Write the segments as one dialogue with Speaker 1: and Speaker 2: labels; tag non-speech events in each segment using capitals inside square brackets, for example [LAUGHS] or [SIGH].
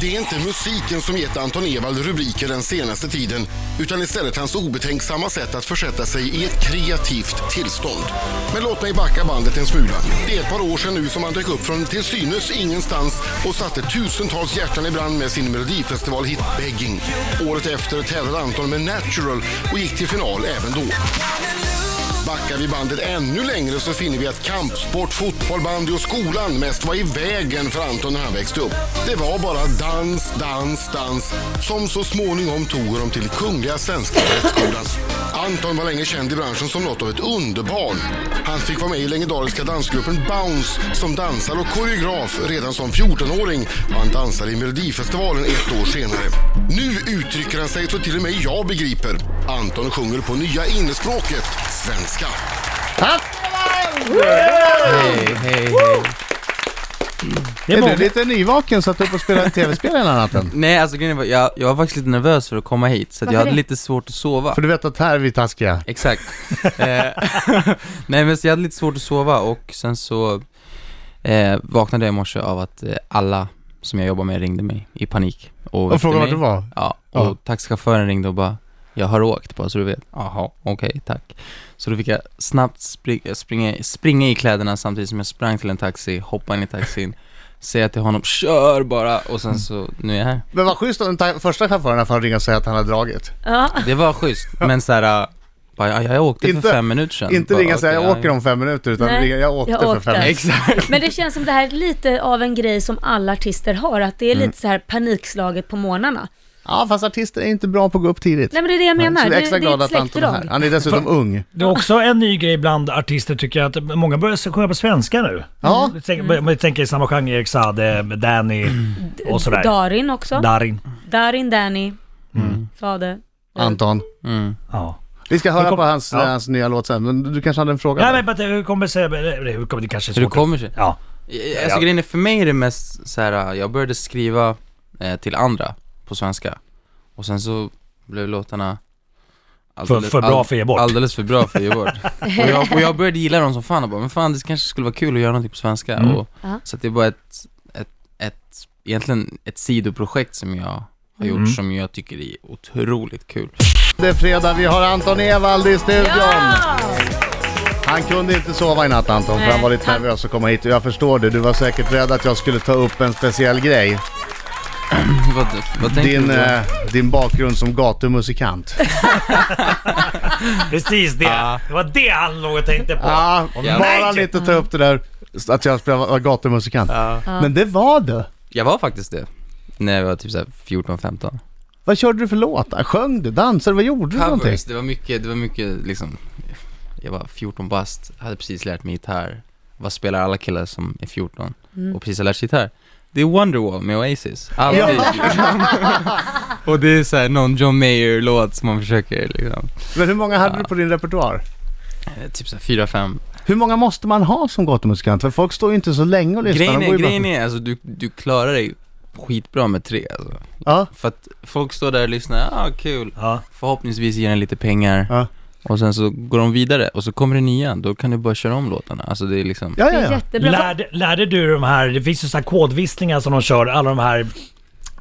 Speaker 1: Det är inte musiken som gett Anton Ewald rubriker den senaste tiden utan istället hans obetänksamma sätt att försätta sig i ett kreativt tillstånd. Men låt mig backa bandet en smula. Det är ett par år sedan nu som han dök upp från till synes ingenstans och satte tusentals hjärtan i brand med sin melodifestivalhit Begging. Året efter tävlade Anton med Natural och gick till final även då. Backar vi bandet ännu längre så finner vi att kampsport, fotboll, bandy och skolan mest var i vägen för Anton när han växte upp. Det var bara dans, dans, dans som så småningom tog honom till Kungliga Svenska Ballettskolan. Anton var länge känd i branschen som något av ett underbarn. Han fick vara med i legendariska dansgruppen Bounce som dansare och koreograf redan som 14-åring och han dansade i Melodifestivalen ett år senare. Nu uttrycker han sig så till och med jag begriper. Anton sjunger på nya innespråket svenska.
Speaker 2: Hej, hej, hej.
Speaker 3: Det
Speaker 2: Är
Speaker 3: är
Speaker 2: du
Speaker 3: många.
Speaker 2: lite nyvaken så att du upp och spelade ett tv-spel hela natten?
Speaker 3: Nej, alltså grejen var, jag, jag var faktiskt lite nervös för att komma hit, så att jag hade
Speaker 4: Varför det?
Speaker 3: lite svårt att sova.
Speaker 2: För du vet att här är vi taskiga. [LAUGHS]
Speaker 3: Exakt. Eh, [LAUGHS] Nej men så jag hade lite svårt att sova och sen så eh, vaknade jag i morse av att eh, alla som jag jobbar med ringde mig i panik. Och, väckte
Speaker 2: Och fråga
Speaker 3: mig.
Speaker 2: vart du var.
Speaker 3: Ja, och
Speaker 2: Ja.
Speaker 3: taxichauffören ringde och bara jag har åkt bara så du vet. Jaha, okej, tack. Så då fick jag snabbt springa, springa, springa i kläderna samtidigt som jag sprang till en taxi, hoppade in i taxin, [LAUGHS] säga till honom kör bara och sen så, nu är jag här.
Speaker 2: Men vad schysst av den ta- första chauffören för att ringa och säga att han har dragit.
Speaker 4: Ja.
Speaker 3: Det var schysst, men såhär, bara, ja, jag åkte
Speaker 2: Inte-
Speaker 3: för fem minuter sedan.
Speaker 2: Inte
Speaker 3: bara,
Speaker 2: ringa och säga
Speaker 3: "Okej,
Speaker 2: jag
Speaker 3: ja,
Speaker 2: åker om fem minuter utan
Speaker 4: Nej,
Speaker 2: ringa jag åkte
Speaker 4: jag
Speaker 2: för
Speaker 4: åkte."
Speaker 2: fem minuter.
Speaker 3: Exakt.
Speaker 4: Men det känns som det här är lite av en grej som alla artister har, att det är
Speaker 2: Mm.
Speaker 4: lite så här panikslaget på morgnarna.
Speaker 2: Ja fast artister är inte bra på att gå upp tidigt.
Speaker 4: Nej men det är det jag menar,
Speaker 2: Så jag
Speaker 4: det,
Speaker 2: är extra
Speaker 4: det är
Speaker 2: glad
Speaker 4: ett
Speaker 2: att Anton är
Speaker 4: släktdrag.
Speaker 2: här. Han är dessutom ung.
Speaker 5: Det är också en ny grej bland artister tycker jag, att många börjar sjunga på svenska nu.
Speaker 2: Ja.
Speaker 4: Mm.
Speaker 5: Om vi tänker i samma genre, Erik Saade, Danny och sådär.
Speaker 4: Darin också.
Speaker 5: Darin.
Speaker 4: Darin, Danny, Sade.
Speaker 2: Mm. Anton.
Speaker 3: Mm.
Speaker 5: Ja.
Speaker 2: Vi ska höra
Speaker 5: Men kom-
Speaker 2: på hans,
Speaker 5: ja.
Speaker 2: hans nya låt sen, men du kanske hade en fråga?
Speaker 5: Nej
Speaker 2: där?
Speaker 5: men vänta, hur kommer det sig, eller, hur kommer det kanske är
Speaker 3: Hur det
Speaker 5: svårt att-
Speaker 3: kommer sig?
Speaker 5: Ja.
Speaker 3: Alltså
Speaker 5: Ja.
Speaker 3: grejen är, för mig är det mest så här. äh, jag började skriva eh, till andra på svenska och sen så blev låtarna
Speaker 5: För, för bra
Speaker 3: all-
Speaker 5: för att ge bort.
Speaker 3: Alldeles för bra för att ge bort. och, jag, och jag började gilla dem som fan och bara, men fan det kanske skulle vara kul att göra någonting på svenska
Speaker 5: Mm.
Speaker 3: och,
Speaker 4: Ja.
Speaker 3: Så att det är bara ett, ett, ett, egentligen ett sidoprojekt som jag har gjort
Speaker 5: Mm.
Speaker 3: som jag tycker är otroligt kul. [LAUGHS]
Speaker 2: Det är fredag, vi har Anton Ewald i studion. Han kunde inte sova i natt Anton, för
Speaker 4: Nej.
Speaker 2: han var lite
Speaker 4: Han-
Speaker 2: nervös att komma hit. Jag förstår det, du var säkert rädd att jag skulle ta upp en speciell grej.
Speaker 3: vad, vad tänker
Speaker 2: Din,
Speaker 3: du? på?
Speaker 2: eh, din bakgrund som gatumusikant.
Speaker 5: Precis det. Det var det han låg och tänkte på.
Speaker 2: Ja,
Speaker 3: jävlar.
Speaker 2: bara lite ta upp det där att jag spelar- var gatumusikant. Men det var du.
Speaker 3: Jag var faktiskt det, när jag var typ såhär 14-15.
Speaker 2: Vad körde du för låtar? Sjöng du? Dansade? Vad gjorde du för någonting?
Speaker 3: Covers, det var mycket, det var mycket liksom Jag var 14 bast, hade precis lärt mig gitarr Vad spelar alla killar som är 14 och precis har lärt sig gitarr? Det är Wonderwall med Oasis, alltid liksom. Och det är såhär någon John Mayer-låt som man försöker liksom
Speaker 2: Men hur många hade du på din repertoar?
Speaker 3: eh, Typ såhär 4-5
Speaker 2: Hur många måste man ha som gatumusikant? För folk står ju inte så länge och lyssnar.
Speaker 3: Grejen
Speaker 2: De går
Speaker 3: är,
Speaker 2: ju bara-
Speaker 3: grejen är alltså du, du klarar dig skitbra med tre alltså.
Speaker 2: Ja.
Speaker 3: För att folk står där och lyssnar, ah kul
Speaker 5: Ja.
Speaker 3: Förhoppningsvis ger den lite pengar
Speaker 2: Ja.
Speaker 3: Och sen så går de vidare och så kommer det nya, då kan du bara köra om låtarna Alltså det är liksom
Speaker 2: Ja,
Speaker 4: Det
Speaker 2: ja,
Speaker 4: är
Speaker 2: ja.
Speaker 4: jättebra.
Speaker 5: Lärde, lärde du de här, det finns ju så här kodvisslingar som de kör, alla de här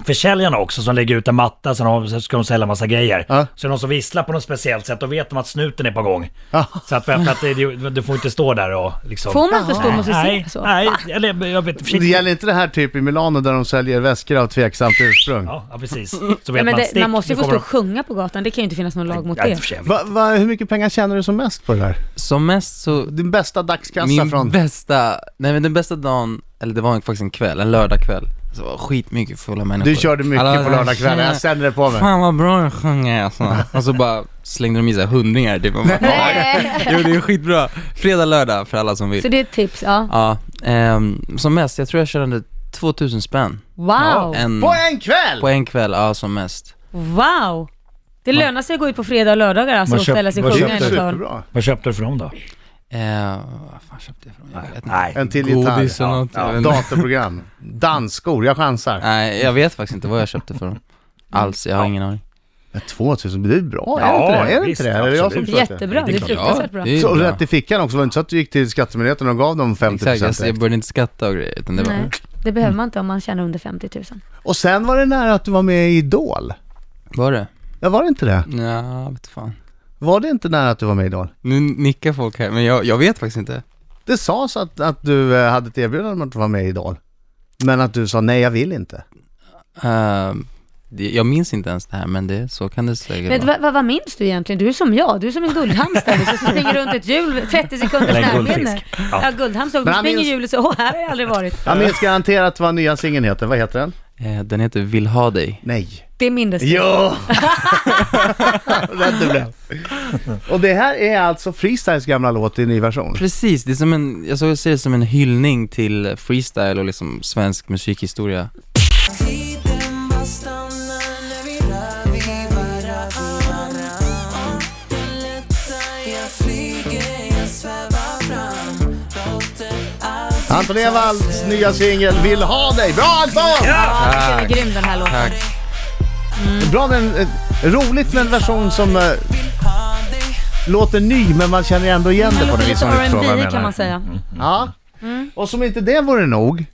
Speaker 5: försäljarna också som lägger ut en matta, sen har- sen ska de sälja massa grejer.
Speaker 2: Ja.
Speaker 5: Så är det någon som visslar på något speciellt sätt, då vet de att snuten är på gång.
Speaker 2: Ja.
Speaker 5: Så att, för att det, du, du får inte stå där och liksom...
Speaker 4: Får man inte stå och
Speaker 5: Nej,
Speaker 4: musicera så?
Speaker 5: nej, eller jag vet
Speaker 2: Det
Speaker 5: försiktigt.
Speaker 2: gäller inte det här typ i Milano där de säljer väskor av tveksamt ursprung?
Speaker 5: Ja, ja, precis. Så vet
Speaker 4: Ja, Mm. men
Speaker 5: man,
Speaker 4: det,
Speaker 5: stick,
Speaker 4: man måste ju få
Speaker 5: nu
Speaker 4: stå
Speaker 5: kommer
Speaker 4: och sjunga på gatan, det kan ju inte finnas någon lag mot
Speaker 5: de- Ja, i och
Speaker 4: det.
Speaker 5: för sig, jag vet.
Speaker 2: Va, va, hur mycket pengar tjänar du som mest på det där?
Speaker 3: Som mest så,
Speaker 2: Din bästa dagskassa
Speaker 3: min
Speaker 2: från...
Speaker 3: bästa, nej men den bästa dagen, eller det var faktiskt en kväll, en lördagkväll Så var skitmycket fulla människor
Speaker 2: Du körde mycket
Speaker 3: Alla-
Speaker 2: på lördagskvällar, jag sänder det på mig.
Speaker 3: Fan vad bra du sjunger alltså. Och så bara slängde de i sig hundringar typ Man bara,
Speaker 4: Nej.
Speaker 3: Jo det är skitbra, fredag, lördag för alla som vill
Speaker 4: Så det är ett tips, ja.
Speaker 3: Ja, ehm, som mest, jag tror jag körde 2000 spänn
Speaker 4: Wow!
Speaker 3: en,
Speaker 2: På en kväll!
Speaker 3: på en kväll, ja som mest
Speaker 4: Wow! Det lönar sig att gå ut på fredag och lördagar alltså
Speaker 5: Man
Speaker 4: och
Speaker 5: köp-
Speaker 4: ställa sig och
Speaker 5: man
Speaker 4: sjunga
Speaker 5: köper-
Speaker 4: en kör.
Speaker 2: Superbra.
Speaker 5: Vad köpte du för dem då?
Speaker 3: eh, Vad fan köpte jag från? Jag vet inte
Speaker 5: Nej.
Speaker 2: En till
Speaker 3: Godis
Speaker 2: gitarr.
Speaker 3: eller något, jag vet inte.
Speaker 2: Datorprogram. Dansskor, jag chansar.
Speaker 3: Nej jag vet faktiskt inte vad jag köpte för dem Alls, jag har ingen aning
Speaker 2: Men 2000, det är bra, är
Speaker 5: Ja,
Speaker 2: det inte det? Är det
Speaker 5: visst,
Speaker 2: inte det? Eller är det jag som
Speaker 5: absolut.
Speaker 2: tror att det är?
Speaker 4: Jättebra, det är fruktansvärt bra.
Speaker 3: det är ju
Speaker 2: Så
Speaker 3: bra.
Speaker 2: rätt i fickan också, var det inte så att du gick till Skattemyndigheten och gav dem 50
Speaker 3: Exakt, alltså,
Speaker 2: procent?
Speaker 3: jag, jag började inte skatta och grejer utan det var
Speaker 4: Nej, det behöver man inte om man tjänar under 50 000.
Speaker 2: Och sen var det nära att du var med i Idol.
Speaker 3: Var det?
Speaker 2: Ja, var det inte det?
Speaker 3: Nja, vet fan.
Speaker 2: Var det inte nära att du var med i Idol?
Speaker 3: Nu nickar folk här, men jag, jag vet faktiskt inte.
Speaker 2: Det sades att, att du eh, hade ett erbjudande om att vara med i Idol. Men att du sa nej, jag vill inte.
Speaker 3: Ehm, det, jag minns inte ens det här, men det, så kan det säkert
Speaker 4: Men
Speaker 3: vara.
Speaker 4: vad, vad, vad minns du egentligen? Du är som jag, du är som en guldhamster liksom, som springer runt ett hjul 30 sekunders
Speaker 5: Eller en
Speaker 4: närminne.
Speaker 5: guldfisk.
Speaker 4: Ja,
Speaker 5: Ja.
Speaker 4: guldhamster, du
Speaker 2: Men han
Speaker 4: springer i
Speaker 2: minns-
Speaker 4: hjulet så, åh, här har jag aldrig varit.
Speaker 2: Jag minns garanterat vad nya singeln heter. Vad heter den?
Speaker 3: Eh, Den heter Vill ha dig.
Speaker 2: Nej.
Speaker 4: Det mindes du.
Speaker 2: Jo! Rätt du blev. Och det här är alltså Freestyles gamla låt i ny version.
Speaker 3: Precis, det är som en, jag såg- ser det som en hyllning till freestyle och liksom svensk musikhistoria.
Speaker 6: Tiden bara stannar när vi rör vid varandra Lättar, jag flyger, jag svävar fram Låter allt
Speaker 2: Anton Ewalds nya singel Vill ha dig. Bra Anton!
Speaker 4: Ja, den är grym den här låten.
Speaker 2: Bra men eh, roligt med en version som eh,
Speaker 6: ha dig
Speaker 2: låter ny men man känner ändå igen det på något vis.
Speaker 4: Lite
Speaker 2: om du förstår vad jag
Speaker 4: R&B
Speaker 2: menar.
Speaker 4: kan man säga. Mm.
Speaker 2: Ja. Och som inte det vore nog.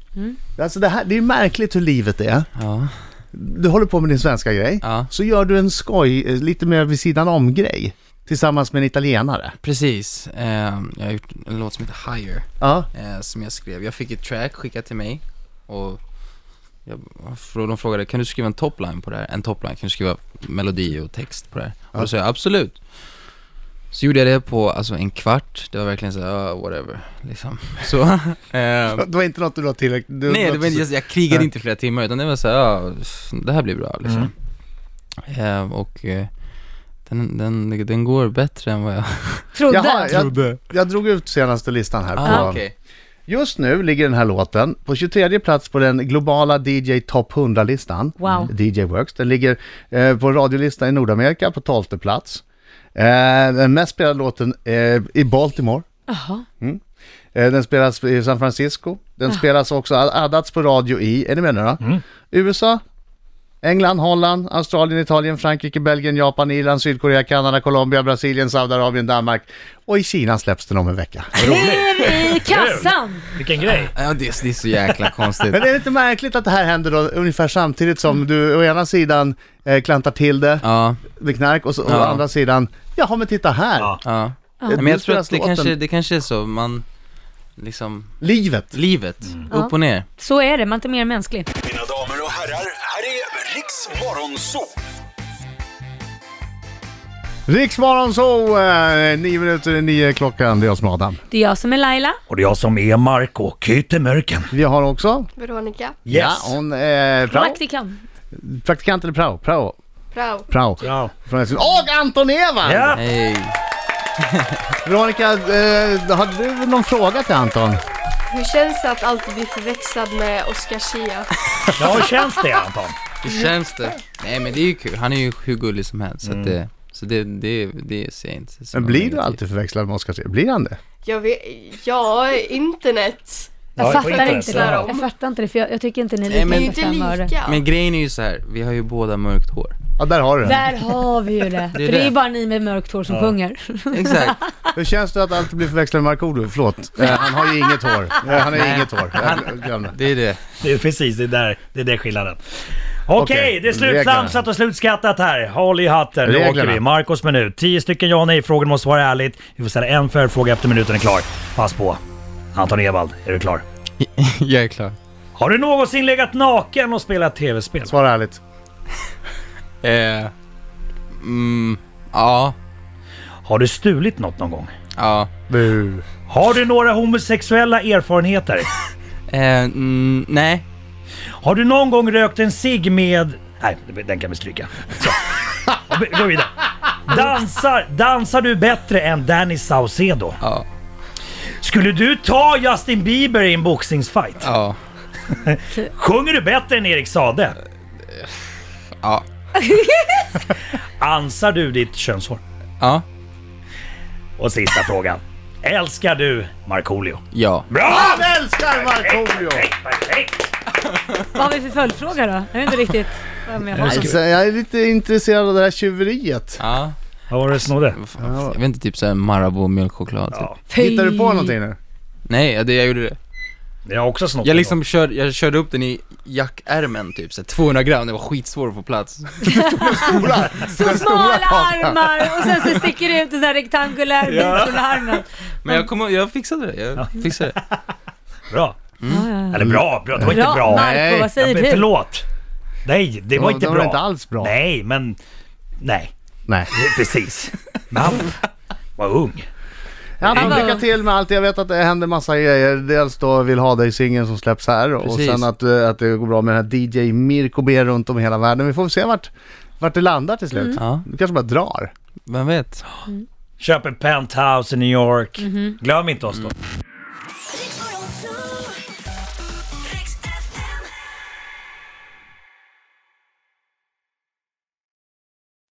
Speaker 2: Alltså det, här, det är ju märkligt hur livet är.
Speaker 3: Ja,
Speaker 2: Du håller på med din svenska grej.
Speaker 3: Ja.
Speaker 2: Så gör du en skoj, eh, lite mer vid sidan om grej. Tillsammans med en italienare.
Speaker 3: precis. Ehm, jag har gjort en låt som heter Higher.
Speaker 2: Ja.
Speaker 3: eh, som jag skrev. Jag fick ett track skickat till mig och jag, frå- de frågade, kan du skriva en topline på det här? En topline, kan du skriva melodi och text på det här? Och då sa jag absolut. Så gjorde jag det på alltså, en kvart, det var verkligen så här, "Ah, whatever, liksom. [LAUGHS] Så, ehm,
Speaker 2: [LAUGHS] Det var inte något du la tillräckligt... du-
Speaker 3: Nej, det
Speaker 2: något-
Speaker 3: var, inte- jag, jag krigade
Speaker 2: Nej.
Speaker 3: inte i flera timmar utan det var så här, ja, det här blir
Speaker 2: Mm.
Speaker 3: bra liksom. Eh, och eh, den, den, den går bättre än vad jag...
Speaker 2: Jaha,
Speaker 4: Trodde.
Speaker 2: jag, jag drog ut senaste listan här.
Speaker 3: Ah,
Speaker 2: på,
Speaker 3: okej.
Speaker 2: Just nu ligger den här låten på 23 plats på den globala DJ Top 100-listan.
Speaker 4: Wow.
Speaker 2: DJ Works. Den ligger eh, på radiolistan i Nordamerika på 12 plats. Eh, den mest spelade låten eh, i Baltimore.
Speaker 4: Jaha. Ah.
Speaker 2: Eh, Den spelas i San Francisco. Den spelas också, har addats på radio i, är ni med nu då? USA, England, Holland, Australien, Italien, Frankrike, Belgien, Japan, Irland, Sydkorea, Kanada, Colombia, Brasilien, Saudiarabien, Danmark och i Kina släpps den om en vecka.
Speaker 4: Ner i kassan!
Speaker 5: Vilken grej!
Speaker 3: Ja, det, det är så jäkla
Speaker 2: [LAUGHS]
Speaker 3: konstigt.
Speaker 2: Men är det inte märkligt att det här händer då ungefär samtidigt som du å ena sidan eh, klantar till det
Speaker 3: Ja,
Speaker 2: med knark och, så, och å
Speaker 3: Ja.
Speaker 2: andra sidan, jaha men titta här,
Speaker 5: Ja.
Speaker 3: ja.
Speaker 2: Eh,
Speaker 3: Nej,
Speaker 2: nu
Speaker 3: men jag tror
Speaker 2: spelas
Speaker 3: att det
Speaker 2: låten.
Speaker 3: kanske, det kanske är så, man liksom,
Speaker 2: livet.
Speaker 3: livet, upp och ner.
Speaker 4: Så är det, man är inte mer mänsklig.
Speaker 7: Mina damer och herrar, här är Riks Morgonzoo!
Speaker 2: Riksmorgon så, eh, nio minuter i nio klockan, det är jag som är Adam.
Speaker 4: Det är jag som är Laila.
Speaker 5: Och det är jag som är Marco Kytemörken.
Speaker 2: Vi har också
Speaker 8: Veronica.
Speaker 2: Ja, hon är prao.
Speaker 4: Praktikant.
Speaker 2: praktikant eller prao? Prao.
Speaker 8: Prao.
Speaker 2: prao.
Speaker 5: Ja.
Speaker 2: Från Hälsingland. Och Anton Ewald!
Speaker 5: Ja.
Speaker 3: Hej.
Speaker 2: Veronica, eh, har du någon fråga till Anton?
Speaker 8: Hur känns det att alltid bli förväxlad med Oscar Zia?
Speaker 5: ja, hur känns det Anton?
Speaker 3: Hur känns det? Mm. Nej men det är ju kul, han är ju hur gullig som helst så att det, så det, det, det ser jag inte som
Speaker 2: Men blir
Speaker 3: något
Speaker 2: du alltid förväxlad med Oscar Zia? Blir han det?
Speaker 8: Jag vet... Ja, internet.
Speaker 5: Ja,
Speaker 4: Jag
Speaker 5: på
Speaker 4: fattar
Speaker 5: internet,
Speaker 4: inte
Speaker 5: ja.
Speaker 4: det. Jag fattar inte det, för jag, jag tycker inte ni är
Speaker 3: Nej,
Speaker 4: lika
Speaker 3: men-
Speaker 8: Det är
Speaker 4: för
Speaker 8: inte
Speaker 4: fem öre.
Speaker 8: lika.
Speaker 3: negativt. Men grejen är ju så här, vi har ju båda mörkt hår. [LAUGHS]
Speaker 2: Ja, där har du den.
Speaker 4: Där har vi ju det. För
Speaker 3: det.
Speaker 4: det är ju bara ni med mörkt hår som sjunger.
Speaker 3: Exakt.
Speaker 2: Hur känns det att alltid bli förväxlad med Markoolio? Förlåt, eh, han har ju inget hår. Eh, han har ju inget hår. Jag glömde.
Speaker 3: Det är det.
Speaker 5: Det är precis, det är där, det är där skillnaden. Okej,
Speaker 2: Okej,
Speaker 5: det är
Speaker 2: reglerna.
Speaker 5: slutflamsat och slutskattat här. Håll i hatten, nu åker
Speaker 2: Reglerna.
Speaker 5: vi. Marcos minut. Tio stycken ja och nej-frågor måste svara ärligt. Vi får ställa en följdfråga efter minuten är klar. Pass på. Anton Ewald, är du klar?
Speaker 3: Jag är klar.
Speaker 5: Har du någonsin legat naken och spelat tv-spel?
Speaker 2: Svara ärligt.
Speaker 3: Eh, mm, ja,
Speaker 5: Har du stulit något någon gång?
Speaker 3: ja.
Speaker 2: Bu.
Speaker 5: Har du några homosexuella erfarenheter?
Speaker 3: Eh, mm, nej.
Speaker 5: Har du någon gång rökt en cigg med... Nej, den kan vi stryka. Så. Och vi- Gå vidare. Dansar, dansar du bättre än Danny Saucedo?
Speaker 3: Ja,
Speaker 5: Skulle du ta Justin Bieber i en boxningsfight?
Speaker 3: ja,
Speaker 5: Sjunger du bättre än Erik Sade?
Speaker 3: ja,
Speaker 5: Ansar du ditt könshår?
Speaker 3: ja,
Speaker 5: Och sista frågan. Älskar du Markoolio?
Speaker 3: ja.
Speaker 5: Bra!
Speaker 2: Han älskar Markoolio!
Speaker 5: Perfekt, perfekt!
Speaker 4: Vad har vi för följdfråga då? Jag vet inte riktigt. Vem jag
Speaker 5: Är det
Speaker 4: har.
Speaker 5: så?
Speaker 2: Så Alltså, jag är lite intresserad av det här tjuveriet.
Speaker 3: Ja,
Speaker 5: Vad var det du snodde?
Speaker 3: vad fan, jag vet inte, typ såhär Marabou mjölkchoklad typ.
Speaker 5: Ja,
Speaker 4: Fy.
Speaker 2: Hittar du på någonting nu?
Speaker 3: Nej, ja, det jag gjorde det.
Speaker 5: jag har också snott
Speaker 3: Jag
Speaker 5: den.
Speaker 3: liksom körde, jag körde upp den i jackärmen typ, så här 200 gram, det var skitsvår att få plats.
Speaker 2: [LAUGHS]
Speaker 4: Så smala armar och sen så sticker det ut en sån här rektangulär bit
Speaker 5: Ja.
Speaker 4: från armen.
Speaker 3: Men jag kom, jag fixade det, jag fixade det.
Speaker 5: Bra.
Speaker 2: Mm.
Speaker 4: Ja, ja, ja.
Speaker 5: Eller bra, bra. Det var
Speaker 4: Bra,
Speaker 5: inte bra.
Speaker 4: Marco, vad säger
Speaker 5: Men
Speaker 4: du?
Speaker 5: Förlåt. Nej, det var
Speaker 2: Det
Speaker 5: inte
Speaker 2: var
Speaker 5: bra.
Speaker 2: inte alls bra.
Speaker 5: Nej, men... Nej,
Speaker 2: Nej.
Speaker 5: precis. Men han var ung.
Speaker 2: Ja, men
Speaker 4: var-
Speaker 2: lycka till med allt. Jag vet att det händer massa grejer. Dels då Vill ha dig-singeln som släpps här och
Speaker 3: Precis.
Speaker 2: sen att, eh, att det går bra med den här DJ Mirko B runt om i hela världen. Vi får se vart, vart det landar till slut.
Speaker 5: Mm.
Speaker 3: Ja,
Speaker 2: Du kanske bara drar.
Speaker 3: vem vet?
Speaker 5: Köp en penthouse i New York. Glöm inte oss då.